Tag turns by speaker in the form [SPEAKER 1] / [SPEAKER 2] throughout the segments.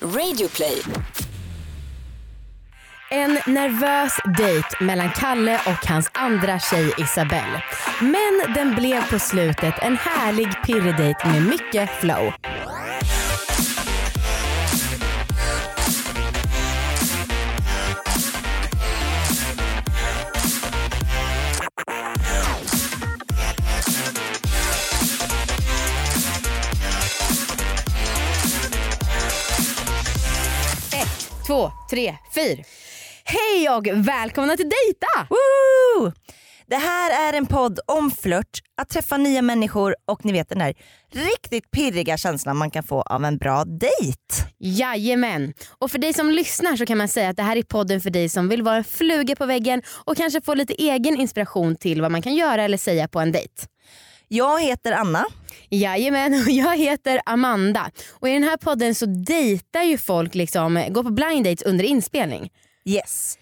[SPEAKER 1] Radioplay.
[SPEAKER 2] En nervös dejt mellan Kalle och hans andra tjej Isabelle. Men den blev på slutet en härlig pirredejt med mycket flow. Ett, två, tre, fyra. Hej och välkomna till Dejta!
[SPEAKER 3] Woo! Det här är en podd om flört, att träffa nya människor och ni vet den där riktigt pirriga känslan man kan få av en bra dejt.
[SPEAKER 2] Jajamän! Och för dig som lyssnar så kan man säga att det här är podden för dig som vill vara en fluga på väggen och kanske få lite egen inspiration till vad man kan göra eller säga på en dejt.
[SPEAKER 3] Jag heter Anna.
[SPEAKER 2] Jajamän, och jag heter Amanda. Och i den här podden så dejtar ju folk, liksom, går på blind dates under inspelning.
[SPEAKER 3] Yes.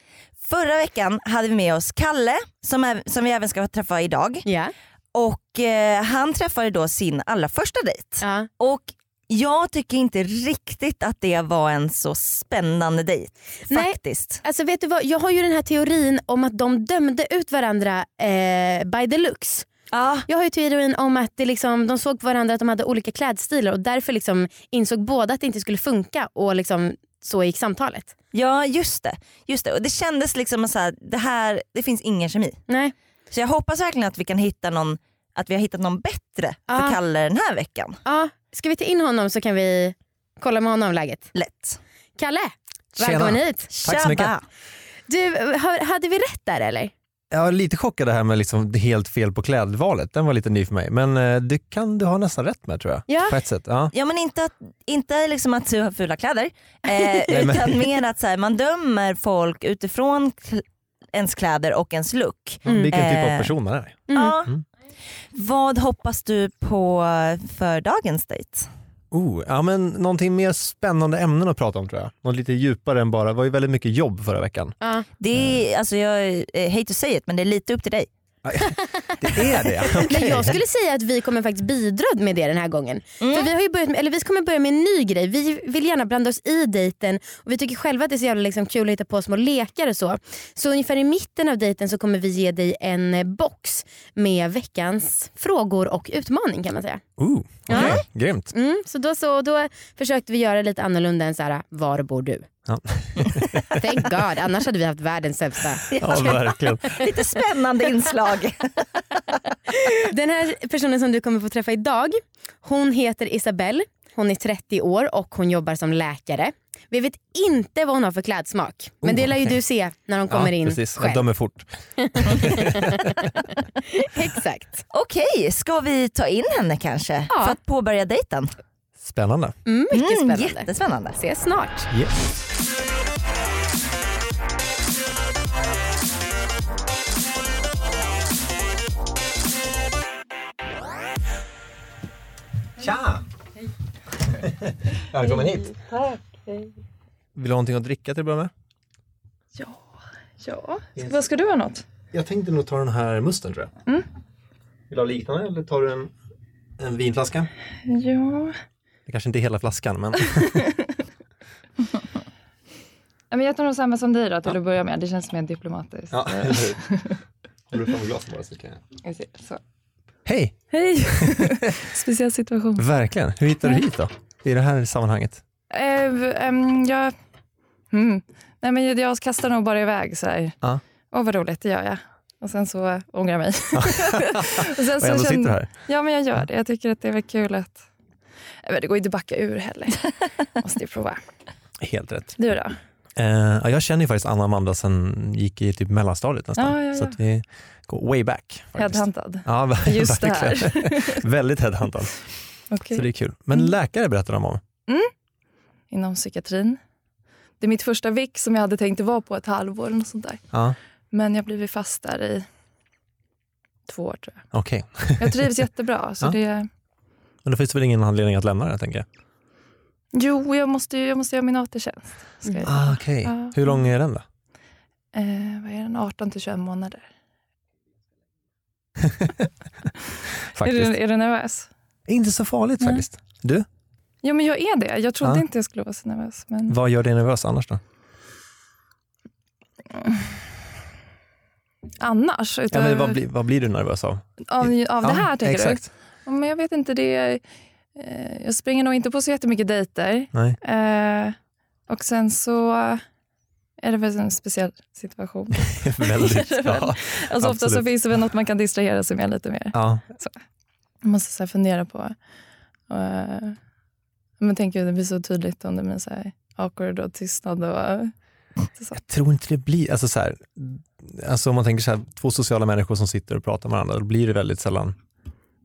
[SPEAKER 3] Förra veckan hade vi med oss Kalle som, är, som vi även ska träffa idag
[SPEAKER 2] Ja.
[SPEAKER 3] och eh, han träffade då sin allra första dejt.
[SPEAKER 2] ja.
[SPEAKER 3] Och jag tycker inte riktigt att det var en så spännande dejt
[SPEAKER 2] Nej.
[SPEAKER 3] faktiskt.
[SPEAKER 2] Alltså vet du vad, jag har ju den här teorin om att de dömde ut varandra eh, by the looks.
[SPEAKER 3] Ja.
[SPEAKER 2] Jag har ju teorin om att det liksom, de såg på varandra att de hade olika klädstilar och därför liksom insåg båda att det inte skulle funka och liksom så gick samtalet.
[SPEAKER 3] ja just det. Just det. Och det kändes liksom så här, det här, det finns ingen kemi.
[SPEAKER 2] Nej.
[SPEAKER 3] Så jag hoppas verkligen att vi kan hitta någon att vi har hittat någon bättre
[SPEAKER 2] Ja.
[SPEAKER 3] för Kalle den här veckan.
[SPEAKER 2] Ja, ska vi ta in honom så kan vi kolla med honom läget.
[SPEAKER 3] Lätt.
[SPEAKER 2] Kalle,
[SPEAKER 4] Tjena.
[SPEAKER 2] välkommen hit.
[SPEAKER 4] Tack så mycket.
[SPEAKER 3] Tjabba.
[SPEAKER 2] Du, hör- hade vi rätt där eller?
[SPEAKER 4] Jag är lite chockad det här med liksom helt fel på klädvalet. Den var lite ny för mig. Men eh, det kan du ha nästan rätt med tror jag.
[SPEAKER 2] Ja.
[SPEAKER 4] På ett sätt.
[SPEAKER 2] Mm.
[SPEAKER 4] Ja.
[SPEAKER 3] Ja men inte, att, inte liksom att du har fula kläder eh,
[SPEAKER 4] men-
[SPEAKER 3] utan mer att så här, man dömer folk utifrån kl- ens kläder och ens look.
[SPEAKER 2] Mm.
[SPEAKER 4] Vilken typ
[SPEAKER 3] Eh.
[SPEAKER 4] av person man är.
[SPEAKER 2] Mm.
[SPEAKER 3] Ja.
[SPEAKER 4] Mm.
[SPEAKER 3] Vad hoppas du på för dagens dejt?
[SPEAKER 4] Oh, ja, men någonting mer spännande ämnen att prata om tror jag. Något lite djupare än bara, det var ju väldigt mycket jobb förra veckan.
[SPEAKER 2] Ja.
[SPEAKER 3] Det
[SPEAKER 4] Mm.
[SPEAKER 3] är, alltså jag eh, hate to say it men det är lite upp till dig.
[SPEAKER 4] Det är det?
[SPEAKER 2] Men
[SPEAKER 4] Okej.
[SPEAKER 2] jag skulle säga att vi kommer faktiskt bidra med det den här gången.
[SPEAKER 3] Mm.
[SPEAKER 2] För vi, har ju börjat med, eller vi kommer börja med en ny grej. Vi vill gärna blanda oss i dejten och vi tycker själva att det är så jävla liksom kul att hitta på små lekar och så. Så ungefär i mitten av dejten så kommer vi ge dig en eh, box med veckans frågor och utmaning kan man säga.
[SPEAKER 4] Oh, okej.
[SPEAKER 2] Ja.
[SPEAKER 4] Grymt.
[SPEAKER 2] Mm, så, då, så då försökte vi göra lite annorlunda än så här, var bor du?
[SPEAKER 4] Ja.
[SPEAKER 2] Thank God, annars hade vi haft världens sämsta.
[SPEAKER 4] Ja, verkligen.
[SPEAKER 3] Lite spännande inslag.
[SPEAKER 2] Den här personen som du kommer få träffa idag, hon heter Isabelle. Hon är 30 år och hon jobbar som läkare. Vi vet inte vad hon har för klädsmak. Men
[SPEAKER 4] Oh,
[SPEAKER 2] det lär ju
[SPEAKER 4] okej.
[SPEAKER 2] du se när hon kommer
[SPEAKER 4] ja,
[SPEAKER 2] in
[SPEAKER 4] precis. Jag
[SPEAKER 2] själv.
[SPEAKER 4] dömer fort.
[SPEAKER 2] Exakt.
[SPEAKER 3] Okej, ska vi ta in henne kanske
[SPEAKER 2] Ja.
[SPEAKER 3] för att påbörja dejten?
[SPEAKER 4] Spännande.
[SPEAKER 2] Mm, mycket
[SPEAKER 3] Mm,
[SPEAKER 2] spännande.
[SPEAKER 3] jättespännande.
[SPEAKER 2] Ses snart.
[SPEAKER 4] Yes. Tja! Välkommen hit.
[SPEAKER 5] Tack.
[SPEAKER 4] Vill du ha någonting att dricka till att börja med?
[SPEAKER 5] Ja, ja. Vad ska du ha något?
[SPEAKER 4] Jag tänkte nog ta den här musten tror jag. Vill du ha liknande eller tar du en, en vinflaska?
[SPEAKER 5] Ja.
[SPEAKER 4] Det kanske inte är hela flaskan men
[SPEAKER 5] Men jag tar nog samma som dig då till att börja med. Det känns mer diplomatiskt.
[SPEAKER 4] ja. eller hur? Har du fram glas bara så kan jag.
[SPEAKER 5] Jag ser- Så.
[SPEAKER 4] Hej!
[SPEAKER 5] Hej! Speciell situation.
[SPEAKER 4] Verkligen. Hur hittade du hit då? I det här sammanhanget?
[SPEAKER 5] Eh, ehm, jag... Mm. Nej, men jag- jag kastar nog bara iväg så här.
[SPEAKER 4] Ja.
[SPEAKER 5] Åh, vad roligt, det gör jag. Och sen så ångrar jag mig. och sen
[SPEAKER 4] Och ändå sitter du här.
[SPEAKER 5] Ja, men jag gör det. Jag tycker att det är väl kul att... Nej, men det går ju inte att backa ur heller. Måste ju prova.
[SPEAKER 4] Helt rätt.
[SPEAKER 5] Du då?
[SPEAKER 4] Eh, ja, jag känner ju faktiskt Anna och Amanda sen gick i typ mellanstadiet nästan.
[SPEAKER 5] Ja, ja, ja.
[SPEAKER 4] Så att vi går way back. faktiskt.
[SPEAKER 5] Headhuntad?
[SPEAKER 4] Ja, ver-
[SPEAKER 5] Just det här.
[SPEAKER 4] verkligen. Väldigt headhuntad.
[SPEAKER 5] Okej. Mm.
[SPEAKER 4] Så det är kul. Men läkare berättar de om.
[SPEAKER 5] inom psykiatrin. Det är mitt första vick som jag hade tänkt vara på ett halvår. Och sånt där.
[SPEAKER 4] Ja,
[SPEAKER 5] Men jag blev fast där i två år, tror jag.
[SPEAKER 4] Okej,
[SPEAKER 5] Jag trivs jättebra. Så
[SPEAKER 4] Ja.
[SPEAKER 5] det,
[SPEAKER 4] men då finns det väl ingen anledning att lämna det tänker jag.
[SPEAKER 5] jo, jag måste, ju- jag måste göra min AT-tjänst. Ska jag,
[SPEAKER 4] Ah, Okej,
[SPEAKER 5] Ja.
[SPEAKER 4] hur lång är den då? Mm.
[SPEAKER 5] eh, vad är den? 18 till 21 månader. Är
[SPEAKER 4] Faktiskt.
[SPEAKER 5] du, är du nervös?
[SPEAKER 4] Inte så farligt
[SPEAKER 5] Nej.
[SPEAKER 4] faktiskt. Du?
[SPEAKER 5] Ja, men jag är det. Jag trodde
[SPEAKER 4] Ja.
[SPEAKER 5] inte jag skulle vara så nervös. Men
[SPEAKER 4] Vad gör dig nervös annars då?
[SPEAKER 5] annars?
[SPEAKER 4] Ja,
[SPEAKER 5] Utav,
[SPEAKER 4] men vad, blir- vad blir du nervös av?
[SPEAKER 5] av, av det här tänker
[SPEAKER 4] exakt.
[SPEAKER 5] du? Ja, Men jag vet inte. Det, eh, jag springer nog inte på så jättemycket dejter.
[SPEAKER 4] Nej.
[SPEAKER 5] Eh, och sen så är det väl en speciell situation.
[SPEAKER 4] Väldigt.
[SPEAKER 5] Det är väl-
[SPEAKER 4] Ja.
[SPEAKER 5] Alltså ofta så
[SPEAKER 4] Absolut.
[SPEAKER 5] finns det väl något man kan distrahera sig med lite mer.
[SPEAKER 4] Ja.
[SPEAKER 5] Man måste så här fundera på. Uh, men tänk gud, det blir så tydligt om det blir så här awkward och tystnad. Och,
[SPEAKER 4] Jag tror inte det blir, alltså så här, alltså om man tänker så här, två sociala människor som sitter och pratar med varandra, då blir det väldigt sällan.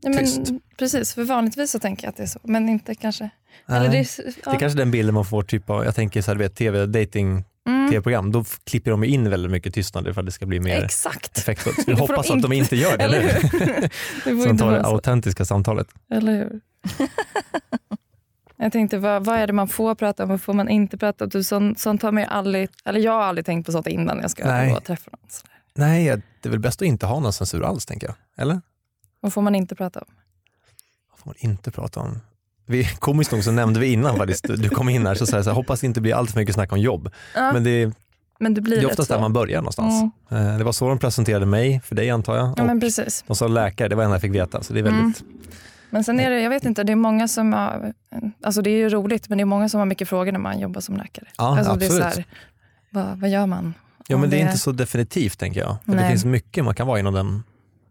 [SPEAKER 5] Nej, men,
[SPEAKER 4] Tyst.
[SPEAKER 5] Precis, för vanligtvis så tänker jag att det är så. Men inte kanske. Eller
[SPEAKER 4] Nej.
[SPEAKER 5] det,
[SPEAKER 4] det,
[SPEAKER 5] är
[SPEAKER 4] är
[SPEAKER 5] s- ja.
[SPEAKER 4] kanske är den bilden man får, typ av, jag tänker så här, du vet, tv, dating,
[SPEAKER 5] Mm,
[SPEAKER 4] tv-program, då f- klipper de in väldigt mycket tystnader för att det ska bli mer
[SPEAKER 5] Exakt.
[SPEAKER 4] effektfullt.
[SPEAKER 5] Det
[SPEAKER 4] Vi
[SPEAKER 5] får
[SPEAKER 4] hoppas
[SPEAKER 5] de
[SPEAKER 4] att de inte gör det, eller hur?
[SPEAKER 5] Det
[SPEAKER 4] Så
[SPEAKER 5] får
[SPEAKER 4] de
[SPEAKER 5] inte
[SPEAKER 4] tar det
[SPEAKER 5] vara så.
[SPEAKER 4] autentiska samtalet.
[SPEAKER 5] Eller hur? jag tänkte, vad, vad är det man får prata om? Vad får man inte prata om? Du, sånt, sånt har man ju aldrig, eller jag har aldrig tänkt på sånt innan jag ska
[SPEAKER 4] Nej.
[SPEAKER 5] gå och träffa någon. Så där.
[SPEAKER 4] Nej, det är väl bäst att inte ha någon censur alls, tänker jag. Eller?
[SPEAKER 5] Vad får man inte prata om?
[SPEAKER 4] Vad får man inte prata om? Vi, komiskt nog så nämnde vi innan faktiskt, du kom in här, så, så, här, så här, hoppas det inte blir allt för mycket snack om jobb.
[SPEAKER 5] Ja, men,
[SPEAKER 4] Men det är,
[SPEAKER 5] det
[SPEAKER 4] det
[SPEAKER 5] blir
[SPEAKER 4] är
[SPEAKER 5] rätt
[SPEAKER 4] oftast
[SPEAKER 5] så.
[SPEAKER 4] där man börjar någonstans.
[SPEAKER 5] Mm.
[SPEAKER 4] Eh, Det var så de presenterade mig, för dig antar jag.
[SPEAKER 5] Ja,
[SPEAKER 4] Och
[SPEAKER 5] men Mm. precis.
[SPEAKER 4] de sa läkare, det var det enda jag fick veta. Så det är väldigt,
[SPEAKER 5] Men sen är det, jag vet inte, det är många som har, alltså det är ju roligt, men det är många som har mycket frågor när man jobbar som läkare.
[SPEAKER 4] Ja,
[SPEAKER 5] alltså Det är
[SPEAKER 4] absolut.
[SPEAKER 5] så här, vad, vad gör man?
[SPEAKER 4] ja, men det är
[SPEAKER 5] det-
[SPEAKER 4] inte så definitivt tänker jag. För det
[SPEAKER 5] Nej. Mm.
[SPEAKER 4] finns mycket man kan vara inom den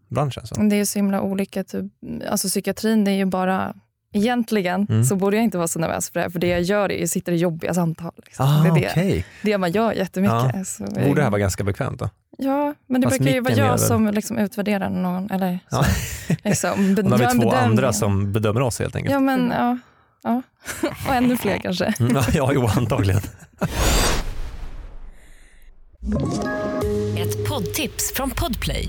[SPEAKER 4] branschen. Så.
[SPEAKER 5] Det är ju så himla olika, typ, alltså psykiatrin det är ju bara Egentligen
[SPEAKER 4] Mm.
[SPEAKER 5] så borde jag inte vara så nervös för det här, för det jag gör är ju sitter i jobbiga samtal. Liksom.
[SPEAKER 4] Ah,
[SPEAKER 5] det alltså, är det,
[SPEAKER 4] okej.
[SPEAKER 5] det man gör jättemycket.
[SPEAKER 4] Ja.
[SPEAKER 5] Så
[SPEAKER 4] Borde det här vara ganska bekvämt då?
[SPEAKER 5] Ja, men det
[SPEAKER 4] Fast
[SPEAKER 5] brukar ju vara
[SPEAKER 4] micken gör
[SPEAKER 5] jag
[SPEAKER 4] väl-
[SPEAKER 5] som liksom utvärderar någon. Eller,
[SPEAKER 4] Ja.
[SPEAKER 5] liksom,
[SPEAKER 4] Och då har
[SPEAKER 5] gör en
[SPEAKER 4] vi två
[SPEAKER 5] bedömning.
[SPEAKER 4] andra som bedömer oss helt enkelt.
[SPEAKER 5] Ja, men, ja, ja. och ännu fler kanske.
[SPEAKER 4] Mm, Ja, ja jo, antagligen.
[SPEAKER 1] Ett poddtips från Podplay.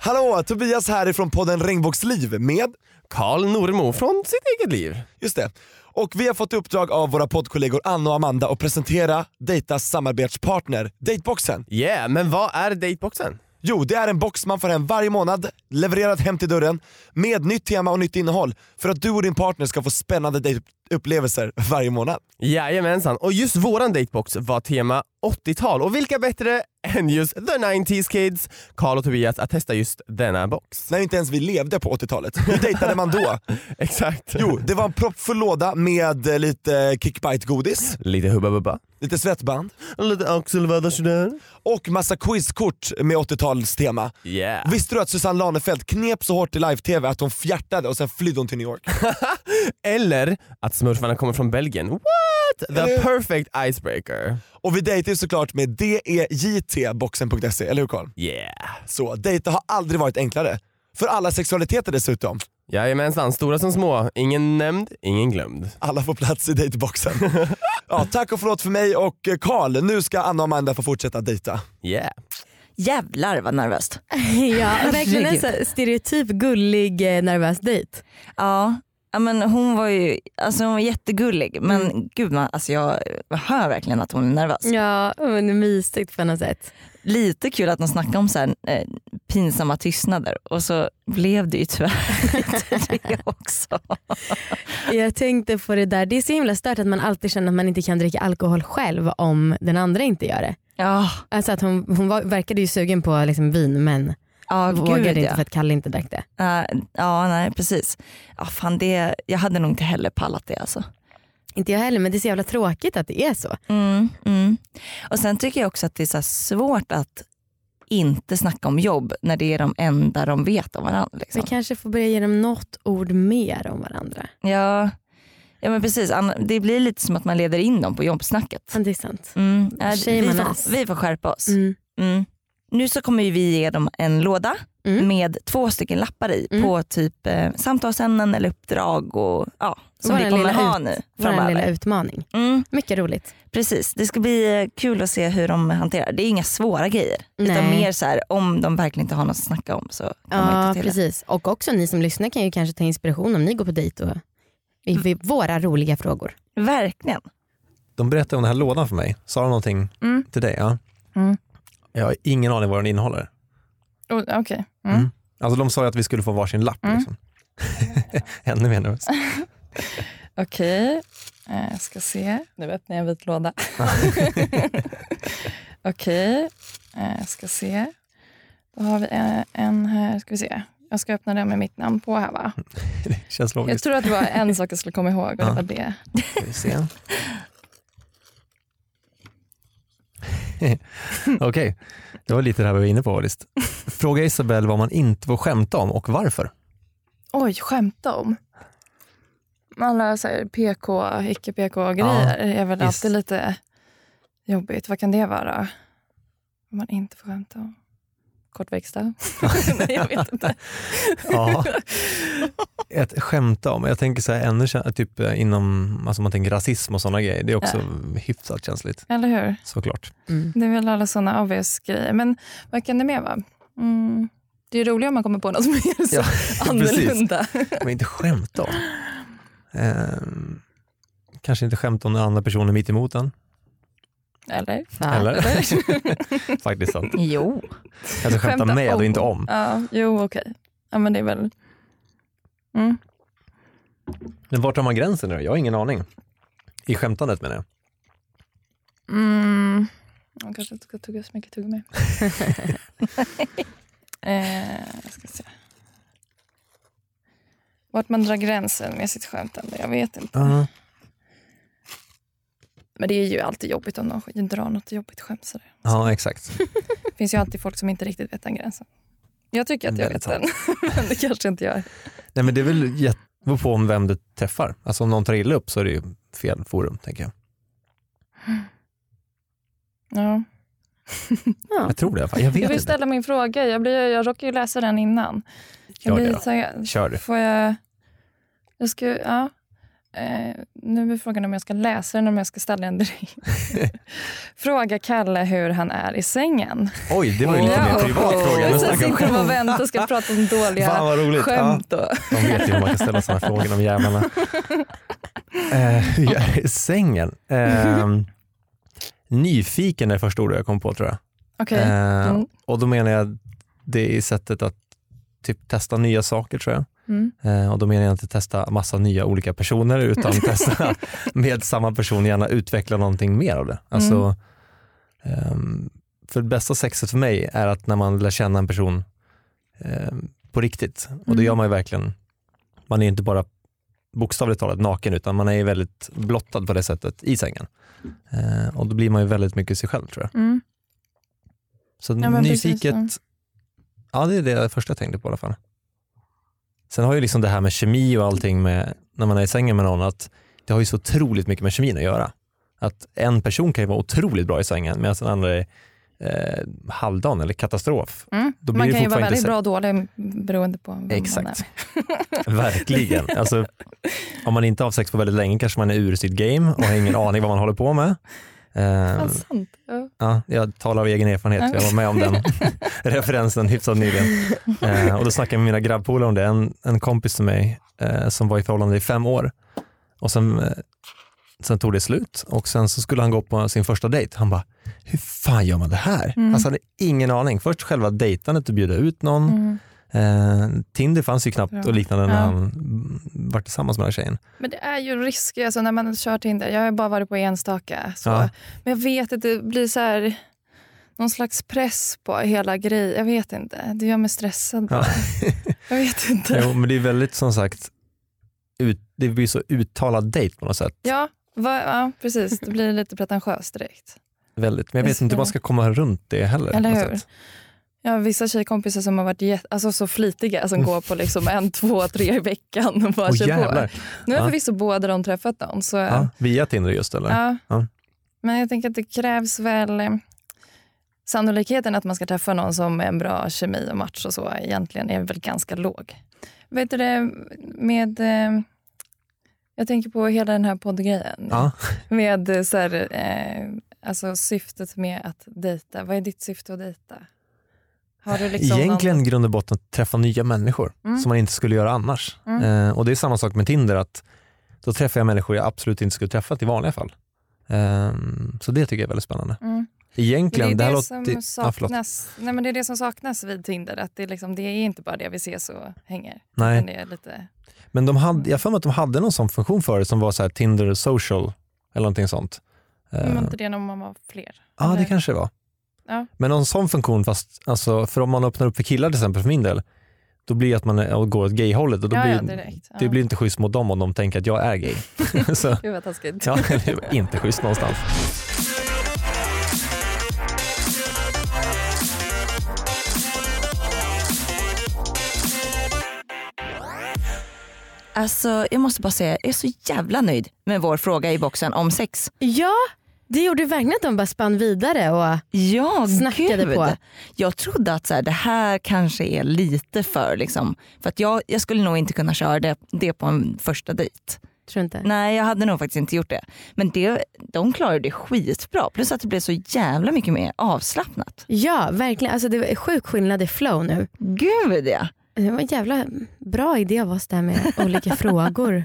[SPEAKER 6] Hallå! Tobias här ifrån podden Regnbågsliv med...
[SPEAKER 7] Karl Normo från sitt eget liv.
[SPEAKER 6] Just det. Och vi har fått i uppdrag av våra poddkollegor Anna och Amanda att presentera Dejtas samarbetspartner Dateboxen.
[SPEAKER 7] Yeah, men vad är dateboxen?
[SPEAKER 6] Jo, det är en box man får hem varje månad, levererad hem till dörren, med nytt tema och nytt innehåll för att du och din partner ska få spännande dejtupplevelser varje månad.
[SPEAKER 7] Jajamensan, och just våran datebox var tema 80-tal och vilka bättre än just the 90s kids, Karl och Tobias, att testa just denna box.
[SPEAKER 6] När inte ens vi levde på 80-talet. Hur dejtade man då?
[SPEAKER 7] Exakt.
[SPEAKER 6] Jo, det var en proppfull låda med eh, lite kickbite-godis,
[SPEAKER 7] Lite Hubba Bubba.
[SPEAKER 6] lite svettband
[SPEAKER 7] Lite Axel Wadda
[SPEAKER 6] och massa quizkort med 80-talstema.
[SPEAKER 7] Yeah.
[SPEAKER 6] Visste du att Susanne Lanefeld knep så hårt i live-tv att hon fjärtade och sen flydde hon till New York?
[SPEAKER 7] Eller att smurfarna kommer från Belgien. What? The perfect icebreaker.
[SPEAKER 6] Och vi dejtar ju såklart med E dejtboxen.se, E, eller hur Carl?
[SPEAKER 7] Yeah.
[SPEAKER 6] Så dejta har aldrig varit enklare. För alla sexualiteter dessutom.
[SPEAKER 7] Jajamensan, stora som små. Ingen nämnd, ingen glömd.
[SPEAKER 6] Alla får plats i dejtboxen. Ja, tack och förlåt för mig och eh, Carl, nu ska Anna och Amanda få fortsätta dejta.
[SPEAKER 7] Yeah.
[SPEAKER 3] Jävlar vad nervöst.
[SPEAKER 2] Ja, verkligen en
[SPEAKER 3] Herregud.
[SPEAKER 2] så här stereotyp gullig eh, nervös dejt.
[SPEAKER 3] Ja, ja, men hon var ju alltså hon var jättegullig men
[SPEAKER 8] Mm.
[SPEAKER 3] gud man, alltså jag hör verkligen att hon är nervös.
[SPEAKER 2] Ja, men det är mysigt på något sätt.
[SPEAKER 3] Lite kul att de snackade om så här, eh, pinsamma tystnader och så blev det ju tyvärr lite det också.
[SPEAKER 2] Jag tänkte på det där, det är så himla stört att man alltid känner att man inte kan dricka alkohol själv om den andra inte gör det.
[SPEAKER 3] Ja,
[SPEAKER 2] Alltså att hon, hon var, verkade ju sugen på liksom vin men
[SPEAKER 3] ja
[SPEAKER 2] vågade
[SPEAKER 3] gud
[SPEAKER 2] inte
[SPEAKER 3] ja.
[SPEAKER 2] för att Kalle inte drack det.
[SPEAKER 3] Eh, ja nej precis. Ja, fan, det, jag hade nog inte heller pallat det alltså.
[SPEAKER 2] Inte jag heller men det är så jävla tråkigt att det är så.
[SPEAKER 3] Mm, mm. Och sen tycker jag också att det är så här svårt att inte snacka om jobb när det är de enda de vet om varandra.
[SPEAKER 2] Vi
[SPEAKER 3] Liksom.
[SPEAKER 2] kanske får börja ge dem något ord mer om varandra.
[SPEAKER 3] Ja, ja men precis, Anna, det blir lite som att man leder in dem på jobbsnacket.
[SPEAKER 2] Men det är sant.
[SPEAKER 3] Mm. ja,
[SPEAKER 2] Tjej,
[SPEAKER 3] vi,
[SPEAKER 2] man ass.
[SPEAKER 3] får, vi får skärpa oss.
[SPEAKER 2] Mm.
[SPEAKER 3] Mm. Nu så kommer ju vi ge dem en låda
[SPEAKER 2] Mm.
[SPEAKER 3] med två stycken lappar i
[SPEAKER 2] Mm.
[SPEAKER 3] på typ eh, samtalsämnen eller uppdrag och, ja, som
[SPEAKER 2] Vår
[SPEAKER 3] vi kommer
[SPEAKER 2] lilla
[SPEAKER 3] ha
[SPEAKER 2] ut-
[SPEAKER 3] nu
[SPEAKER 2] Vår lilla
[SPEAKER 3] framöver.
[SPEAKER 2] utmaning.
[SPEAKER 3] Mm,
[SPEAKER 2] Mycket roligt.
[SPEAKER 3] precis, det ska bli eh, kul att se hur de hanterar. Det är inga svåra grejer utan
[SPEAKER 2] Nej.
[SPEAKER 3] mer så här om de verkligen inte har något att snacka om så kan man
[SPEAKER 2] Ja
[SPEAKER 3] ta till det.
[SPEAKER 2] precis. Och också ni som lyssnar kan ju kanske ta inspiration om ni går på dejt och i- i våra roliga frågor.
[SPEAKER 3] Verkligen.
[SPEAKER 4] De berättade om den här lådan för mig. Sa de någonting
[SPEAKER 5] Mm.
[SPEAKER 4] till dig? Ja.
[SPEAKER 5] Mm.
[SPEAKER 4] Jag har ingen aning vad den innehåller.
[SPEAKER 5] Oh, Okej. Mm.
[SPEAKER 4] Mm. Alltså de sa ju att vi skulle få varsin lapp.
[SPEAKER 5] Mm.
[SPEAKER 4] Liksom. Ännu mer nervös.
[SPEAKER 5] Okej, Eh, jag ska se. Nu vet ni, en vit låda. Okej, Eh, jag ska se. Då har vi en, en här. Ska vi se. Jag ska öppna den med mitt namn på här va?
[SPEAKER 4] Det känns
[SPEAKER 5] Jag
[SPEAKER 4] logiskt.
[SPEAKER 5] tror att det var en sak jag skulle komma ihåg och det
[SPEAKER 4] Ja.
[SPEAKER 5] var det.
[SPEAKER 4] Ska vi se. Okej, det var lite det här vi var inne på. Just. Fråga Isabel vad man inte får skämta om och varför.
[SPEAKER 5] Oj, skämta om. Alla så här PK, icke PK-grejer är väl
[SPEAKER 4] visst.
[SPEAKER 5] alltid lite jobbigt. Vad kan det vara? Om man inte får skämta om. Kortväxta? Nej, jag vet inte.
[SPEAKER 4] Ja. Ett skämta om, jag tänker så här ännu kä- typ eh, inom, alltså man tänker rasism och sådana grejer, det är också hyfsat känsligt
[SPEAKER 5] Eller hur?
[SPEAKER 4] såklart.
[SPEAKER 5] Det är väl alla såna obvious grejer. Men vad kan det mer vara? Mm. Det är roligare om man kommer på något som är så
[SPEAKER 4] Ja,
[SPEAKER 5] annorlunda.
[SPEAKER 4] Men inte skämta om. Ehm, kanske inte skämta om den andra personen mitt emot en.
[SPEAKER 5] Eller?
[SPEAKER 2] Va?
[SPEAKER 4] Eller? Faktiskt sant.
[SPEAKER 3] Jo.
[SPEAKER 4] Alltså skämta med och inte om.
[SPEAKER 5] Ja, jo, okej. Ja, men det är väl... Mm.
[SPEAKER 4] Men vart tar man gränsen nu då? Jag har ingen aning. I skämtandet menar jag.
[SPEAKER 5] Mm. Jag kanske inte ska tugga så mycket tuggummi. eh, jag ska se. Vart man drar gränsen med sitt skämtande, jag vet inte. Men det är ju alltid jobbigt om någon drar något jobbigt skämt. Så det
[SPEAKER 4] Ja, exakt.
[SPEAKER 5] finns ju alltid folk som inte riktigt vet den gränsen. Jag tycker att jag
[SPEAKER 4] Väldigt
[SPEAKER 5] vet den, men det kanske inte jag.
[SPEAKER 4] Nej, men det är väl jätte det beror på om vem du träffar. Alltså om någon tar illa upp så är det ju fel forum, tänker jag.
[SPEAKER 5] Ja.
[SPEAKER 4] Jag tror det i alla fall. Jag
[SPEAKER 5] Du
[SPEAKER 4] vet
[SPEAKER 5] får ju
[SPEAKER 4] inte.
[SPEAKER 5] ställa min fråga. Jag, blir, jag råkar ju läsa den innan. Jag
[SPEAKER 4] Gör det
[SPEAKER 5] blir
[SPEAKER 4] då.
[SPEAKER 5] så här-
[SPEAKER 4] Kör du.
[SPEAKER 5] Får jag... jag ska, ja. eh, nu är frågan om jag ska läsa den eller om jag ska ställa den direkt. Fråga Kalle hur han är i sängen.
[SPEAKER 4] Oj, det var ju lite
[SPEAKER 5] Ja.
[SPEAKER 4] mer privat fråga. än
[SPEAKER 5] Men
[SPEAKER 4] att
[SPEAKER 5] sen
[SPEAKER 4] snacka om
[SPEAKER 5] sitter de
[SPEAKER 4] skämt.
[SPEAKER 5] och väntar och ska prata om
[SPEAKER 4] Fan
[SPEAKER 5] dåliga
[SPEAKER 4] vad roligt. Ja,
[SPEAKER 5] skämt. Och,
[SPEAKER 4] de vet ju hur man kan ställa sådana frågor, de jävlarna. Eh, hur gör jag i sängen? Ehm, nyfiken är första ordet jag kom på tror jag.
[SPEAKER 5] Okej.
[SPEAKER 4] Eh,
[SPEAKER 5] Mm.
[SPEAKER 4] Och då menar jag det i sättet att typ testa nya saker tror jag.
[SPEAKER 5] Mm.
[SPEAKER 4] Eh, och då menar jag inte testa massa nya olika personer utan testa med samma person gärna utveckla någonting mer av det. Alltså, ehm, för det bästa sexet för mig är att när man lär känna en person ehm, på riktigt och det
[SPEAKER 5] Mm.
[SPEAKER 4] gör man ju verkligen, man är ju inte bara bokstavligt talat naken utan man är ju väldigt blottad på det sättet i sängen. Eh, och då blir man ju väldigt mycket sig själv tror jag.
[SPEAKER 5] Mm.
[SPEAKER 4] Så
[SPEAKER 5] Ja, men precis,
[SPEAKER 4] nyfiket, ja det är det första jag tänkte på i alla fall. Sen har ju liksom det här med kemi och allting med, när man är i sängen med någon, att det har ju så otroligt mycket med kemin att göra. Att en person kan ju vara otroligt bra i sängen medan den andra är eh, halvdan eller katastrof.
[SPEAKER 5] Mm.
[SPEAKER 4] Då blir
[SPEAKER 5] Man
[SPEAKER 4] det
[SPEAKER 5] kan ju vara
[SPEAKER 4] fortfarande
[SPEAKER 5] väldigt
[SPEAKER 4] inte
[SPEAKER 5] bra och dålig beroende på vem Mm, man
[SPEAKER 4] Exakt.
[SPEAKER 5] är.
[SPEAKER 4] Verkligen. Alltså, om man inte har haft sex på väldigt länge kanske man är ur sitt game och har ingen aning vad man håller på med. Eh,
[SPEAKER 5] Fan, sant. Ja.
[SPEAKER 4] Ja, jag talar av egen erfarenhet, för jag var med om den referensen hyfsat nyligen. Eh, och då snackade jag med mina grabbpolare om det. En, en kompis till mig eh, som var i förhållande i fem år och sen, eh, sen tog det slut och sen så skulle han gå på sin första dejt. Han bara, hur fan gör man det här? Alltså han hade ingen aning. Först själva dejtandet och bjuda ut någon.
[SPEAKER 5] Mm.
[SPEAKER 4] Eh, Tinder fanns ju knappt
[SPEAKER 5] Bra.
[SPEAKER 4] och liknande när
[SPEAKER 5] Ja.
[SPEAKER 4] han mm, var tillsammans med den här tjejen.
[SPEAKER 5] Men det är ju risker alltså, när man kör Tinder. Jag har ju bara varit på enstaka. Så.
[SPEAKER 4] Ja.
[SPEAKER 5] Men jag vet att det blir så här, någon slags press på hela grejen. Jag vet inte. Det gör mig stressad.
[SPEAKER 4] Ja.
[SPEAKER 5] bara. Jag vet inte.
[SPEAKER 4] Jo, men det är väldigt som sagt, ut, det blir så uttalad dejt på något sätt.
[SPEAKER 5] Ja, va, ja, precis. Det blir lite pretentiöst direkt.
[SPEAKER 4] Väldigt, men jag
[SPEAKER 5] Det
[SPEAKER 4] vet inte hur man
[SPEAKER 5] ser
[SPEAKER 4] ska komma runt det heller.
[SPEAKER 5] Eller
[SPEAKER 4] på något
[SPEAKER 5] hur?
[SPEAKER 4] sätt.
[SPEAKER 5] Jag har vissa tjejkompisar som har varit jätte, alltså, så flitiga som går på liksom en, två, tre i veckan och bara
[SPEAKER 4] Åh,
[SPEAKER 5] kör på.
[SPEAKER 4] jävlar.
[SPEAKER 5] Nu har
[SPEAKER 4] Ja.
[SPEAKER 5] förvisso båda de träffat någon. Så,
[SPEAKER 4] Ja, via Tinder just eller?
[SPEAKER 5] Ja.
[SPEAKER 4] Ja.
[SPEAKER 5] Men jag tänker att det krävs väl eh, Sannolikheten att man ska träffa någon som är en bra kemi och match och så egentligen är väl ganska låg. Vet du det med... eh, Jag tänker på hela den här poddgrejen.
[SPEAKER 4] Ja.
[SPEAKER 5] Med eh, så här, eh, alltså syftet med att dejta. Vad är ditt syfte att dejta? Har du liksom
[SPEAKER 4] Egentligen i grund och botten att träffa nya människor
[SPEAKER 5] Mm.
[SPEAKER 4] som man inte skulle göra annars.
[SPEAKER 5] Mm.
[SPEAKER 4] Eh, och det är samma sak med Tinder, att då träffar jag människor jag absolut inte skulle träffat i vanliga fall. Eh, så det tycker jag är väldigt spännande.
[SPEAKER 5] Någon... Mm.
[SPEAKER 4] Egentligen,
[SPEAKER 5] Men det är det,
[SPEAKER 4] här låter-
[SPEAKER 5] som
[SPEAKER 4] ja, förlåt.
[SPEAKER 5] saknas, nej, men det är det som saknas vid Tinder. Att det, är liksom, det är inte bara det vi ses och hänger.
[SPEAKER 4] Nej.
[SPEAKER 5] Men det är lite...
[SPEAKER 4] Men de hade, jag har för mig att de hade någon sån funktion förut som var så här Tinder social eller någonting sånt. Eh,
[SPEAKER 5] Var inte det när man var fler?
[SPEAKER 4] Ja, det
[SPEAKER 5] Eller-
[SPEAKER 4] kanske det var.
[SPEAKER 5] Ja.
[SPEAKER 4] Men någon sån funktion, fast alltså, för om man öppnar upp för killar till exempel för min del, då blir det att man är, och går åt gayhållet och då
[SPEAKER 5] ja,
[SPEAKER 4] blir,
[SPEAKER 5] ja, direkt. Ja.
[SPEAKER 4] det blir inte schysst mot dem om de tänker att jag är gay. så,
[SPEAKER 5] Gud vad taskigt.
[SPEAKER 4] ja, det var inte schysst någonstans.
[SPEAKER 3] Alltså jag måste bara säga, jag är så jävla nöjd med vår fråga i boxen om sex.
[SPEAKER 2] Ja, det gjorde verkligen att de bara spann vidare. Och,
[SPEAKER 3] Ja,
[SPEAKER 2] Snackade
[SPEAKER 3] gud.
[SPEAKER 2] på.
[SPEAKER 3] Jag trodde att så här, det här kanske är lite för liksom. För att jag, jag skulle nog inte kunna köra det, det på en första dejt.
[SPEAKER 2] tror inte.
[SPEAKER 3] Nej jag hade nog faktiskt inte gjort det. Men det, de klarade det skitbra. Plus att det blev så jävla mycket mer avslappnat.
[SPEAKER 2] Ja, verkligen. Alltså, det var sjuk skillnad i flow nu.
[SPEAKER 3] Gud ja.
[SPEAKER 2] Det var en jävla bra idé av oss där med olika frågor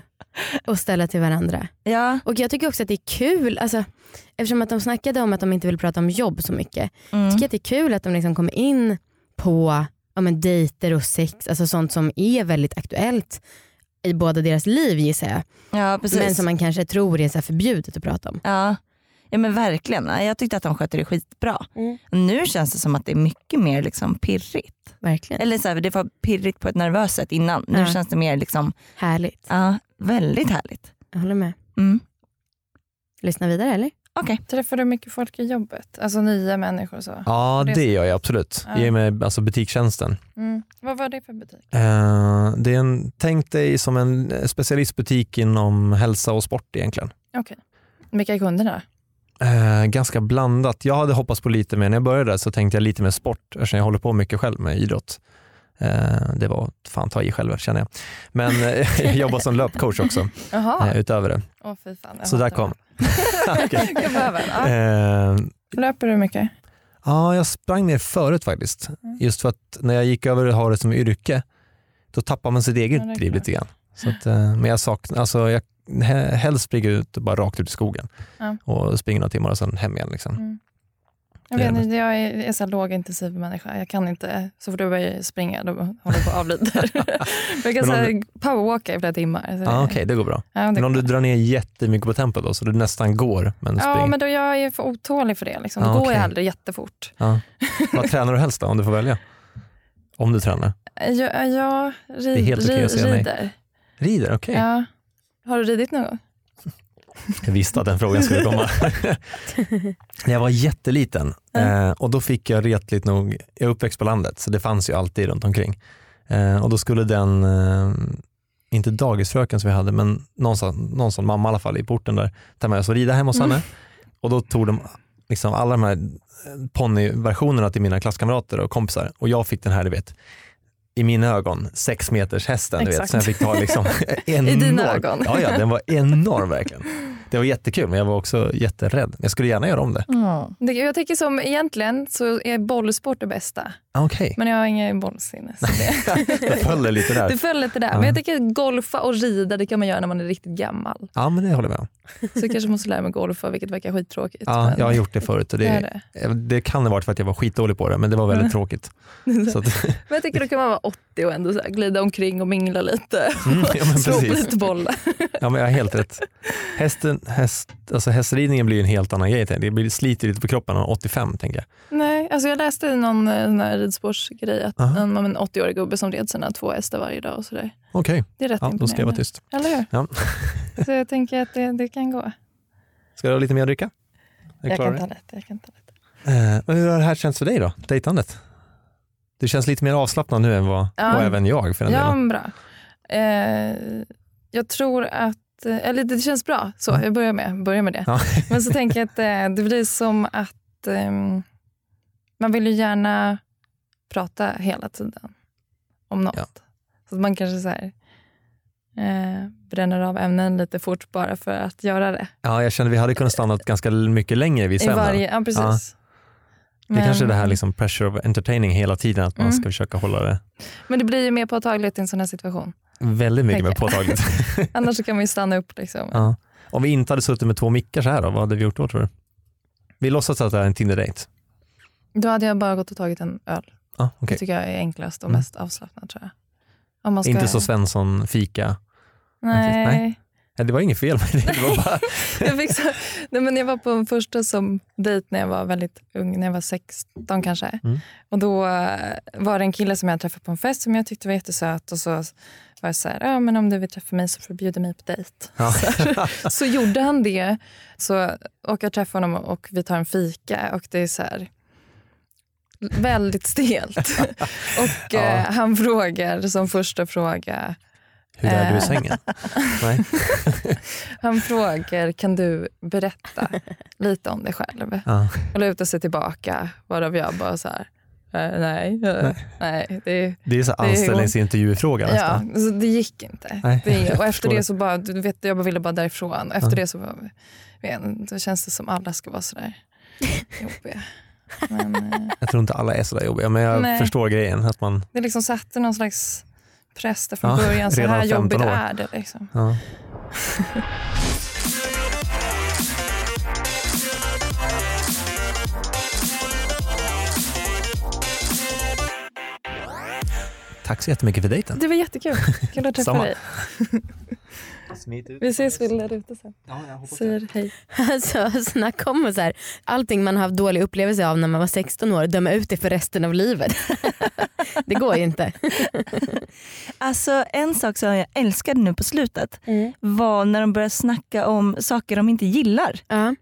[SPEAKER 2] att ställa till varandra.
[SPEAKER 3] Ja.
[SPEAKER 2] Och jag tycker också att det är kul, alltså, eftersom att de snackade om att de inte vill prata om jobb så mycket.
[SPEAKER 3] Mm.
[SPEAKER 2] Jag tycker att det är kul att de liksom kommer in på ja, men dejter och sex, alltså sånt som är väldigt aktuellt i båda deras liv gissar jag.
[SPEAKER 3] Ja precis.
[SPEAKER 2] Men som man kanske tror är så här förbjudet att prata om.
[SPEAKER 3] Ja. ja men verkligen. Nej, Jag tyckte att de skötte det skitbra.
[SPEAKER 2] Mm.
[SPEAKER 3] Nu känns det som att det är mycket mer liksom pirrigt.
[SPEAKER 2] Verkligen.
[SPEAKER 3] Eller så här, det var pirrigt på ett nervöst sätt innan. Nu
[SPEAKER 2] Ja.
[SPEAKER 3] känns det mer liksom,
[SPEAKER 2] Härligt.
[SPEAKER 3] ja, väldigt härligt.
[SPEAKER 2] Jag håller med.
[SPEAKER 3] Mm.
[SPEAKER 2] Lyssna vidare eller?
[SPEAKER 5] Träffar du mycket folk i jobbet? Alltså nya människor och så?
[SPEAKER 4] Ja,
[SPEAKER 5] Det-
[SPEAKER 4] det gör jag absolut.
[SPEAKER 5] Ja.
[SPEAKER 4] Ge mig alltså butikstjänsten.
[SPEAKER 5] Mm. Vad var det för butik?
[SPEAKER 4] Eh, det är en, tänk dig som en eh, specialistbutik inom hälsa och sport egentligen.
[SPEAKER 5] Okej. Vilka är kunderna?
[SPEAKER 4] Eh, ganska blandat. Jag hade hoppats på lite mer. När jag började där så tänkte jag lite mer sport eftersom jag håller på mycket själv med idrott. Eh, det var fan ta i själv känner jag. Men eh, jag jobbar som löpcoach också
[SPEAKER 5] Jaha,
[SPEAKER 4] eh, utöver det.
[SPEAKER 5] åh fy fan. jag
[SPEAKER 4] Så där
[SPEAKER 5] hatar
[SPEAKER 4] kom.
[SPEAKER 5] det. Jag behöver en. Ja.
[SPEAKER 4] Eh,
[SPEAKER 5] Löper du mycket?
[SPEAKER 4] Ja, jag sprang mer förut faktiskt.
[SPEAKER 5] Mm.
[SPEAKER 4] Just för att när jag gick över att ha det som yrke, då tappar man sitt eget
[SPEAKER 5] Ja, det är
[SPEAKER 4] driv
[SPEAKER 5] klart.
[SPEAKER 4] lite grann. Så att, eh, men jag saknar, alltså jag he- helst springer ut och bara rakt ut i skogen
[SPEAKER 5] Ja.
[SPEAKER 4] och springer några timmar och sen hem igen. Liksom.
[SPEAKER 5] Mm. Jag,
[SPEAKER 4] Det är
[SPEAKER 5] vet, inte, jag är, är så här lågintensiv människa. Jag kan inte, så fort jag börjar springa då håller jag på att avlida. jag kan
[SPEAKER 4] om
[SPEAKER 5] så här powerwalka i flera timmar. Så
[SPEAKER 4] Ja,
[SPEAKER 5] det-
[SPEAKER 4] Okej, det går bra.
[SPEAKER 5] ja, det-
[SPEAKER 4] Men om du drar ner jättemycket på tempot då, så du nästan går men du
[SPEAKER 5] Ja,
[SPEAKER 4] springer.
[SPEAKER 5] men då jag är för otålig för det. Liksom. Då
[SPEAKER 4] Ja,
[SPEAKER 5] går
[SPEAKER 4] okej.
[SPEAKER 5] jag aldrig jättefort.
[SPEAKER 4] Ja. Vad tränar du helst då, om du får välja? Om du tränar?
[SPEAKER 5] Jag, jag rid,
[SPEAKER 4] är helt okej att säga nej.
[SPEAKER 5] rider.
[SPEAKER 4] Rider, okej.
[SPEAKER 5] Ja. Har du ridit någon gång?
[SPEAKER 4] Jag visste att den frågan skulle komma. När jag var jätteliten eh, och då fick jag retligt nog, jag är uppväxt på landet så det fanns ju alltid runt omkring. Eh, och då skulle den, eh, inte dagisfröken som vi hade, men någon, sån- någon sån mamma i alla fall i porten där, ta med oss och rida hem hos henne. Och då tog de liksom alla de här eh, ponnyversionerna till mina klasskamrater och kompisar och jag fick den här, du vet, i mina ögon, sex meters hästen, du vet,
[SPEAKER 5] Exakt.
[SPEAKER 4] som jag fick ta liksom enorm.
[SPEAKER 5] I dina ögon.
[SPEAKER 4] Ja, ja, den var enorm verkligen. Det var jättekul men jag var också jätterädd. Jag skulle gärna göra om det.
[SPEAKER 3] Mm.
[SPEAKER 5] Det, jag tycker som egentligen så är bollsport det bästa.
[SPEAKER 4] Ah, Okej,
[SPEAKER 5] Men jag har ingen bollsinne. Så det,
[SPEAKER 4] jag föll det lite
[SPEAKER 5] det
[SPEAKER 4] där.
[SPEAKER 5] föll lite där. Men jag tycker att golfa och rida det kan man göra när man är riktigt gammal.
[SPEAKER 4] Ja men det håller jag med om.
[SPEAKER 5] Så jag kanske måste lära mig golfa vilket verkar skittråkigt.
[SPEAKER 4] Ja,
[SPEAKER 5] men
[SPEAKER 4] jag har gjort det förut och
[SPEAKER 5] det är
[SPEAKER 4] det,
[SPEAKER 5] det. Mm.
[SPEAKER 4] det kan ha varit för att jag var skitdålig på det men det var väldigt tråkigt. Så att,
[SPEAKER 5] Men jag tycker då kan man vara 80 och ändå så här, glida omkring och mingla lite.
[SPEAKER 4] mm, ja, men
[SPEAKER 5] Slå på
[SPEAKER 4] precis.
[SPEAKER 5] lite bollar.
[SPEAKER 4] Ja, men jag har helt rätt. Hästen, häst, alltså hästridningen blir ju en helt annan grej. tänker jag. Det blir, sliter lite på kroppen när man är 85 tänker jag.
[SPEAKER 5] Nej, alltså jag läste i någon eh, sån här ridsportsgrej att
[SPEAKER 4] Aha.
[SPEAKER 5] en, om en 80-årig gubbe som red sina två hästar varje dag och sådär.
[SPEAKER 4] Okej,
[SPEAKER 5] Det är rätt
[SPEAKER 4] ja, då ska jag vara
[SPEAKER 5] imponerande.
[SPEAKER 4] tyst.
[SPEAKER 5] Eller hur?
[SPEAKER 4] Ja.
[SPEAKER 5] Så jag tänker att det, det kan gå.
[SPEAKER 4] Ska du ha lite mer att dricka? Är du
[SPEAKER 5] Jag
[SPEAKER 4] klar
[SPEAKER 5] kan
[SPEAKER 4] med
[SPEAKER 5] ta
[SPEAKER 4] det?
[SPEAKER 5] lätt. Jag kan ta lätt.
[SPEAKER 4] Eh, Men hur har det här känts för dig då? Dejtandet? Du känns lite mer avslappnad nu än vad,
[SPEAKER 5] Ja.
[SPEAKER 4] och även jag för den
[SPEAKER 5] Ja,
[SPEAKER 4] delen.
[SPEAKER 5] men bra. Eh, jag tror att, eh, eller det känns bra så,
[SPEAKER 4] Ja.
[SPEAKER 5] jag börjar med, börjar med det.
[SPEAKER 4] Ja.
[SPEAKER 5] Men så tänker jag att eh, det blir som att ehm, Man vill ju gärna prata hela tiden om något.
[SPEAKER 4] Ja.
[SPEAKER 5] Så att man kanske så här, eh, bränner av ämnen lite fort bara för att göra det.
[SPEAKER 4] Ja, jag kände vi hade kunnat stanna ganska mycket längre i
[SPEAKER 5] I
[SPEAKER 4] vissa ämnen.
[SPEAKER 5] varje, ja, precis.
[SPEAKER 4] Det är kanske är det här liksom pressure of entertaining hela tiden, att man
[SPEAKER 5] Mm.
[SPEAKER 4] ska försöka hålla det
[SPEAKER 5] men det blir ju mer påtagligt i en sån här situation.
[SPEAKER 4] väldigt mycket mer
[SPEAKER 5] Tänker jag.
[SPEAKER 4] påtagligt.
[SPEAKER 5] Annars så kan man ju stanna upp. Liksom.
[SPEAKER 4] Ja. Om vi inte hade suttit med två mickar så här då, vad hade vi gjort då tror du? Vi låtsas att det här är en Tinder-date.
[SPEAKER 5] Då hade jag bara gått och tagit en öl.
[SPEAKER 4] Ja,
[SPEAKER 5] Det
[SPEAKER 4] okej.
[SPEAKER 5] tycker jag är enklast och
[SPEAKER 4] Mm.
[SPEAKER 5] mest avslappnat tror jag. Om man ska-
[SPEAKER 4] Inte så Svensson-fika.
[SPEAKER 5] Nej.
[SPEAKER 4] Nej. Ja, Det var inget fel med det. det var bara...
[SPEAKER 5] jag, fick så, nej men jag var på en första som dejt när jag var väldigt ung, när jag var 16 kanske.
[SPEAKER 4] Mm.
[SPEAKER 5] Och Då eh, var det en kille som jag träffade på en fest som jag tyckte var jättesöt. Och så var jag så här, ja, men om du vill träffa mig så får du bjuda mig på dejt.
[SPEAKER 4] Ja.
[SPEAKER 5] Så gjorde han det. Så och jag träffar honom och vi tar en fika och det är så här väldigt stelt. och
[SPEAKER 4] Ja.
[SPEAKER 5] eh, han frågar som första fråga,
[SPEAKER 4] Hur är du i
[SPEAKER 5] Eh.
[SPEAKER 4] sängen? Nej.
[SPEAKER 5] han frågar kan du berätta lite om dig själv?
[SPEAKER 4] Ja.
[SPEAKER 5] Och lutar sig tillbaka varav jag bara så här, eh, nej, eh, nej. Det,
[SPEAKER 4] Det är så
[SPEAKER 5] är ju-
[SPEAKER 4] anställningsintervjufråga
[SPEAKER 5] ja,
[SPEAKER 4] nästan.
[SPEAKER 5] så det gick inte.
[SPEAKER 4] Nej,
[SPEAKER 5] Det,
[SPEAKER 4] jag
[SPEAKER 5] och efter
[SPEAKER 4] förstår
[SPEAKER 5] det
[SPEAKER 4] det.
[SPEAKER 5] så bara, du vet, jag bara ville bara därifrån. Och efter
[SPEAKER 4] Ja.
[SPEAKER 5] det så bara, vet, då känns det som alla ska vara sådär jobbiga. Men, eh,
[SPEAKER 4] Jag tror inte alla är sådär jobbiga, men jag
[SPEAKER 5] Nej.
[SPEAKER 4] förstår grejen. Att man,
[SPEAKER 5] det liksom satte någon slags press där från
[SPEAKER 4] Ja,
[SPEAKER 5] början. Så
[SPEAKER 4] redan
[SPEAKER 5] här
[SPEAKER 4] 15
[SPEAKER 5] jobbigt
[SPEAKER 4] år.
[SPEAKER 5] är det. Liksom.
[SPEAKER 4] ja. Tack så jättemycket för dejten.
[SPEAKER 5] Det var jättekul. Kul att träffa
[SPEAKER 4] Samma.
[SPEAKER 5] dig. Vi ses väl där ute sen. Säger hej.
[SPEAKER 2] Alltså, snacka om och så här, allting man har haft dålig upplevelse av när man var 16 år, döma ut det för resten av livet. det går ju inte.
[SPEAKER 3] Alltså en sak som jag älskade nu på slutet var när de började snacka om saker de inte gillar.
[SPEAKER 2] Ja.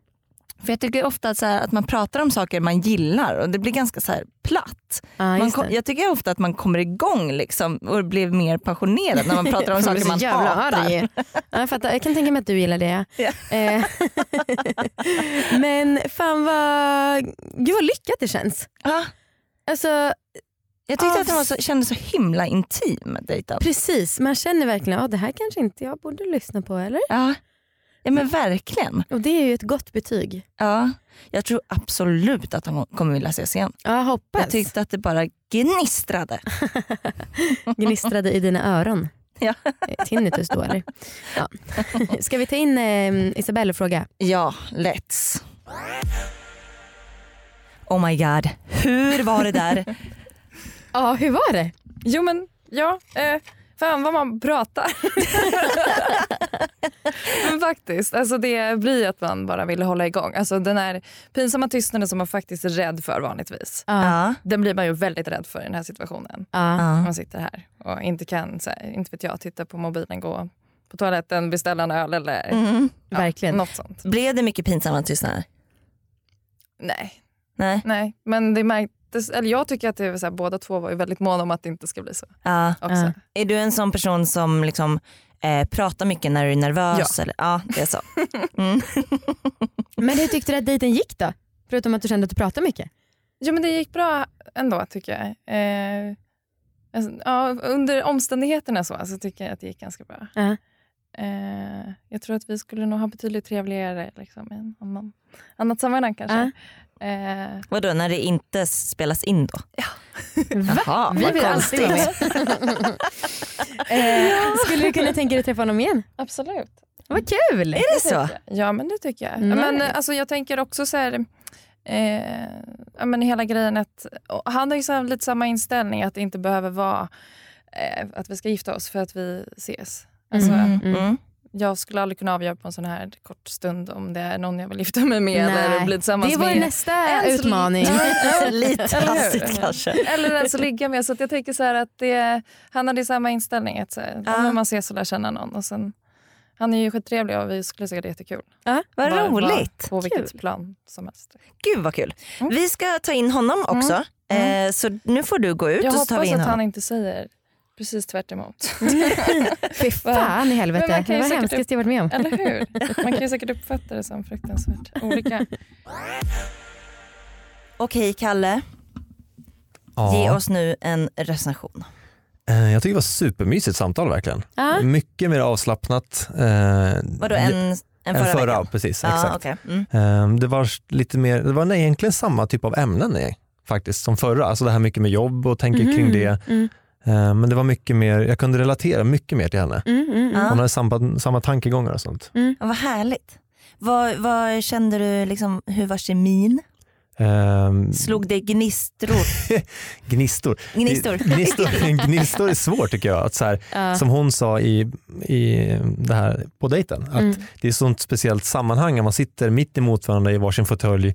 [SPEAKER 3] För jag tycker ofta att, så här, att man pratar om saker man gillar och det blir ganska så här platt.
[SPEAKER 2] Ja,
[SPEAKER 3] Man
[SPEAKER 2] just
[SPEAKER 3] kom,
[SPEAKER 2] det.
[SPEAKER 3] jag tycker ofta att man kommer igång liksom och blir mer passionerad när man pratar om
[SPEAKER 2] Jag blir
[SPEAKER 3] saker
[SPEAKER 2] så
[SPEAKER 3] man
[SPEAKER 2] jävla
[SPEAKER 3] hatar.
[SPEAKER 2] arg. Ja, jag, fattar. jag kan tänka mig att du gillar det.
[SPEAKER 3] Ja.
[SPEAKER 2] Eh, Men fan vad, gud vad lyckat det känns.
[SPEAKER 3] Ja,
[SPEAKER 2] Alltså,
[SPEAKER 3] jag tyckte
[SPEAKER 2] Ja,
[SPEAKER 3] att den var så, kändes så himla intim dejten.
[SPEAKER 2] precis, man känner verkligen att det här kanske inte jag borde lyssna på eller?
[SPEAKER 3] Ja. ja men verkligen.
[SPEAKER 2] Och det är ju ett gott betyg.
[SPEAKER 3] Ja. Jag tror absolut att de kommer vilja ses igen.
[SPEAKER 2] Ja, hoppas.
[SPEAKER 3] Jag tyckte att det bara gnistrade.
[SPEAKER 2] Gnistrade i dina öron.
[SPEAKER 3] Ja.
[SPEAKER 2] Eh, Tinnitus då eller? Ja. Ska vi ta in eh, Isabelle och fråga?
[SPEAKER 3] Ja, let's. Oh my god, hur var det där?
[SPEAKER 2] Ja, hur var det?
[SPEAKER 5] Jo men, ja. Eh, fan vad man pratar. men faktiskt, alltså det blir ju att man bara vill hålla igång. Alltså den här pinsamma tystnaden som man faktiskt är rädd för vanligtvis.
[SPEAKER 2] Ja.
[SPEAKER 3] ja.
[SPEAKER 5] Den blir man ju väldigt rädd för i den här situationen.
[SPEAKER 2] Ja.
[SPEAKER 3] Ja.
[SPEAKER 5] Man sitter här och inte kan, så här, inte vet jag, titta på mobilen, gå på toaletten, beställa en öl eller
[SPEAKER 3] Mm.
[SPEAKER 5] ja,
[SPEAKER 2] verkligen.
[SPEAKER 5] något sånt.
[SPEAKER 3] Blev det mycket pinsamma tystnader?
[SPEAKER 5] Nej,
[SPEAKER 3] Nej.
[SPEAKER 5] nej. men det märktes, eller jag tycker att det är så här, båda två var ju väldigt måna om att det inte ska bli så.
[SPEAKER 3] Ja.
[SPEAKER 5] Också.
[SPEAKER 2] Ja.
[SPEAKER 3] Är du en sån person som liksom, eh, pratar mycket när du är nervös? Ja. Eller? ja det är så.
[SPEAKER 2] Men hur tyckte du att dejten gick då? Förutom att du kände att du pratade mycket.
[SPEAKER 5] Jo men det gick bra ändå tycker jag. Eh, alltså, ja, under omständigheterna så, så tycker jag att det gick ganska bra.
[SPEAKER 2] Ja.
[SPEAKER 5] Eh, jag tror att vi skulle nog ha betydligt trevligare liksom, i en annan, annat sammanhang kanske. Eh,
[SPEAKER 3] Vadå, när det inte spelas in då?
[SPEAKER 2] Va?
[SPEAKER 3] Jaha,
[SPEAKER 2] Vi
[SPEAKER 3] vad
[SPEAKER 2] vill alltid vara med.
[SPEAKER 3] konstigt.
[SPEAKER 2] eh, skulle du kunna tänka dig att träffa honom igen?
[SPEAKER 5] absolut.
[SPEAKER 2] Vad kul!
[SPEAKER 3] Är det så? Mm.
[SPEAKER 5] tycker jag. Ja, men det tycker jag.
[SPEAKER 2] Nice.
[SPEAKER 5] Men, eh, alltså, jag tänker också så här... Eh, ja, men hela grejen att... och Han har ju så här, lite samma inställning, att det inte behöver vara eh, att vi ska gifta oss för att vi ses. Alltså,
[SPEAKER 3] Mm.
[SPEAKER 2] Mm.
[SPEAKER 3] Mm.
[SPEAKER 5] Jag skulle aldrig kunna avgöra på en sån här kort stund om det är någon jag vill gifta mig med
[SPEAKER 2] Nej.
[SPEAKER 5] eller bli tillsammans
[SPEAKER 2] Det var ju
[SPEAKER 5] med.
[SPEAKER 2] nästa
[SPEAKER 5] Än så-
[SPEAKER 2] utmaning.
[SPEAKER 3] Lite
[SPEAKER 5] Eller hur?
[SPEAKER 3] hastigt kanske.
[SPEAKER 5] Eller ens att ligga med. Så att jag tänker så här att det, han hade ju samma inställning. Att, så här,
[SPEAKER 3] Ja.
[SPEAKER 5] ja. Man ses och lär känna någon. Och sen, han är ju skittrevlig och vi skulle säkert ha jättekul.
[SPEAKER 3] Vad
[SPEAKER 5] Bara- bara
[SPEAKER 3] roligt.
[SPEAKER 5] På vilket
[SPEAKER 3] Kul.
[SPEAKER 5] plan som helst.
[SPEAKER 3] Gud vad kul.
[SPEAKER 5] Mm.
[SPEAKER 3] Vi ska ta in honom också.
[SPEAKER 5] Mm.
[SPEAKER 3] Eh, så nu får du gå ut
[SPEAKER 5] Jag
[SPEAKER 3] och så
[SPEAKER 5] hoppas
[SPEAKER 3] tar vi in
[SPEAKER 5] att
[SPEAKER 3] honom.
[SPEAKER 5] han inte säger precis tvärt emot.
[SPEAKER 2] Fy fan i helvete.
[SPEAKER 5] Men man
[SPEAKER 2] Det
[SPEAKER 5] kan ju
[SPEAKER 2] var det
[SPEAKER 5] säkert-
[SPEAKER 2] hemskaste jag varit med om.
[SPEAKER 5] Eller hur? Man kan ju säkert uppfatta det som fruktansvärt olika.
[SPEAKER 3] Okej Kalle, Ge
[SPEAKER 4] Ja.
[SPEAKER 3] oss nu en recension.
[SPEAKER 4] Eh, Jag tycker det var supermysigt samtal verkligen.
[SPEAKER 2] Ja.
[SPEAKER 4] Mycket mer avslappnat. Eh,
[SPEAKER 3] Vadå en, en,
[SPEAKER 4] än
[SPEAKER 3] förra,
[SPEAKER 4] förra,
[SPEAKER 3] veckan?
[SPEAKER 4] precis.
[SPEAKER 3] Ja,
[SPEAKER 4] exakt.
[SPEAKER 3] okej. mm.
[SPEAKER 4] Ehm, Det var lite mer, det var egentligen samma typ av ämnen eh, faktiskt som förra, alltså det här mycket med jobb och tänker kring
[SPEAKER 2] Mhm.
[SPEAKER 4] det.
[SPEAKER 2] Mm.
[SPEAKER 4] Ehm, Men det var mycket mer, jag kunde relatera mycket mer till henne.
[SPEAKER 2] Mm, mm, mm.
[SPEAKER 3] Ja.
[SPEAKER 4] Hon hade samma, samma tankegångar och sånt.
[SPEAKER 3] Ja, vad härligt. Vad, vad kände du, liksom, hur var kemin?
[SPEAKER 4] Mm. Ehm,
[SPEAKER 3] Slog det gnistror?
[SPEAKER 4] Gnistor.
[SPEAKER 3] Gnistor.
[SPEAKER 4] gnistor. Gnistor är svårt tycker jag. Att så här,
[SPEAKER 2] Ja.
[SPEAKER 4] Som hon sa i, i det här på dejten, att
[SPEAKER 2] Mm.
[SPEAKER 4] det är ett sånt speciellt sammanhang när man sitter mitt emot varandra i varsin fåtölj,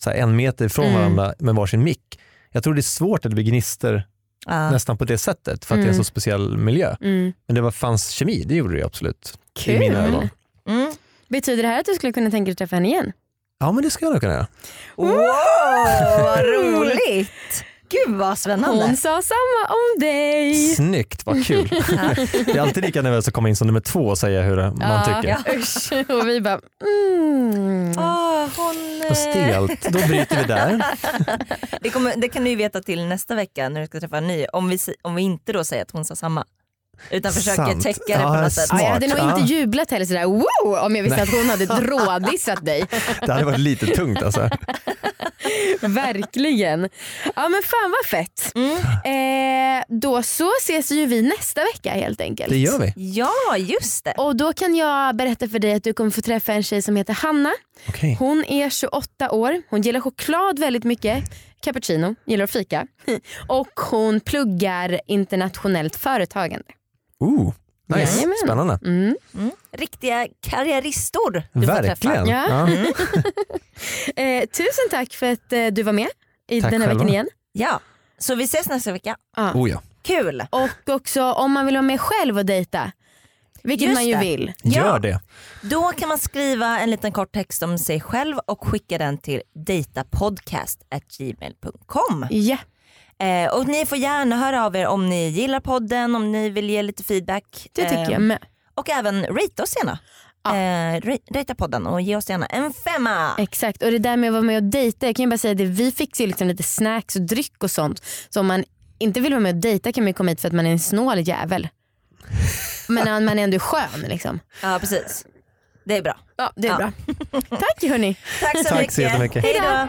[SPEAKER 4] så här en meter ifrån
[SPEAKER 2] Mm.
[SPEAKER 4] varandra med varsin mick. Jag tror det är svårt att det blir gnistor
[SPEAKER 3] Ja.
[SPEAKER 4] nästan på det sättet för att det är en
[SPEAKER 2] Mm.
[SPEAKER 4] så speciell miljö.
[SPEAKER 2] Mm.
[SPEAKER 4] Men det var, fanns kemi, det gjorde det absolut. I
[SPEAKER 2] Kul.
[SPEAKER 4] mina ögon.
[SPEAKER 3] Mm.
[SPEAKER 2] Betyder det här att du skulle kunna tänka dig att träffa henne igen?
[SPEAKER 4] Ja men det ska jag nog kunna göra.
[SPEAKER 3] Wow, vad roligt! Gud vad
[SPEAKER 2] Hon
[SPEAKER 3] spännande.
[SPEAKER 2] sa samma om dig.
[SPEAKER 4] Snyggt, vad kul. jag är alltid lika nervös att komma in som nummer två och säga hur man tycker.
[SPEAKER 2] Usch. Och vi bara mm.
[SPEAKER 3] Ah, hon,
[SPEAKER 4] Vad
[SPEAKER 3] eh,
[SPEAKER 4] stelt, då bryter vi där.
[SPEAKER 3] det, kommer, det kan du ju veta till nästa vecka när du ska träffa en ny. Om vi, se- om vi inte då säger att hon sa samma. Utan försöker
[SPEAKER 4] Sant.
[SPEAKER 3] täcka det på
[SPEAKER 4] Ja,
[SPEAKER 3] något
[SPEAKER 4] smart. Ah.
[SPEAKER 3] sätt.
[SPEAKER 2] Ja, jag hade nog
[SPEAKER 4] Ja.
[SPEAKER 2] inte jublat heller sådär wow om jag visste att hon hade drådissat dig.
[SPEAKER 4] Det hade varit lite tungt alltså.
[SPEAKER 2] Verkligen. Ja men fan vad fett.
[SPEAKER 4] Mm.
[SPEAKER 2] Eh, då så ses ju vi nästa vecka helt enkelt.
[SPEAKER 4] Det gör vi.
[SPEAKER 3] Ja, just det.
[SPEAKER 2] Och då kan jag berätta för dig att du kommer få träffa en tjej som heter Hanna.
[SPEAKER 4] Okej.
[SPEAKER 2] Hon är 28 år, hon gillar choklad väldigt mycket, cappuccino, gillar att fika och hon pluggar internationellt företagande.
[SPEAKER 4] Ooh, nice.
[SPEAKER 2] Jajamän.
[SPEAKER 4] Spännande.
[SPEAKER 2] Mm.
[SPEAKER 3] Riktiga karriäristor du får träffa.
[SPEAKER 4] Verkligen.
[SPEAKER 2] Ja. Mm.
[SPEAKER 4] Ja.
[SPEAKER 2] Eh, tusen tack för att eh, du var med i
[SPEAKER 4] Tack
[SPEAKER 2] den här
[SPEAKER 4] själva.
[SPEAKER 2] veckan igen.
[SPEAKER 3] Ja, så vi ses nästa vecka.
[SPEAKER 2] Ja.
[SPEAKER 4] Oh, ja.
[SPEAKER 3] Kul!
[SPEAKER 2] Och också om man vill vara med själv och dejta, vilket
[SPEAKER 3] Just
[SPEAKER 2] man ju
[SPEAKER 3] det.
[SPEAKER 2] vill.
[SPEAKER 4] Gör det.
[SPEAKER 3] Då kan man skriva en liten kort text om sig själv och skicka den till datapodcast.gmail.com.
[SPEAKER 2] Ja.
[SPEAKER 3] Eh, och ni får gärna höra av er om ni gillar podden, om ni vill ge lite feedback.
[SPEAKER 2] Det tycker
[SPEAKER 4] Ehm.
[SPEAKER 3] Eh,
[SPEAKER 2] jag med.
[SPEAKER 3] Och även rate oss gärna.
[SPEAKER 2] Ja.
[SPEAKER 3] Eh, ra- ratea podden och ge oss gärna en femma.
[SPEAKER 2] Exakt och det där med att vara med och dejta, jag kan ju bara säga det, vi fixar ju liksom lite snacks och dryck och sånt. Så om man inte vill vara med och dejta kan man ju komma hit för att man är en snål jävel. Men man är ändå skön liksom.
[SPEAKER 3] Ja precis. Det är bra.
[SPEAKER 2] Ja det är
[SPEAKER 3] Ja.
[SPEAKER 2] bra. Tack hörni.
[SPEAKER 3] Tack så
[SPEAKER 4] Tack
[SPEAKER 3] mycket.
[SPEAKER 4] så jättemycket.
[SPEAKER 3] Hej då.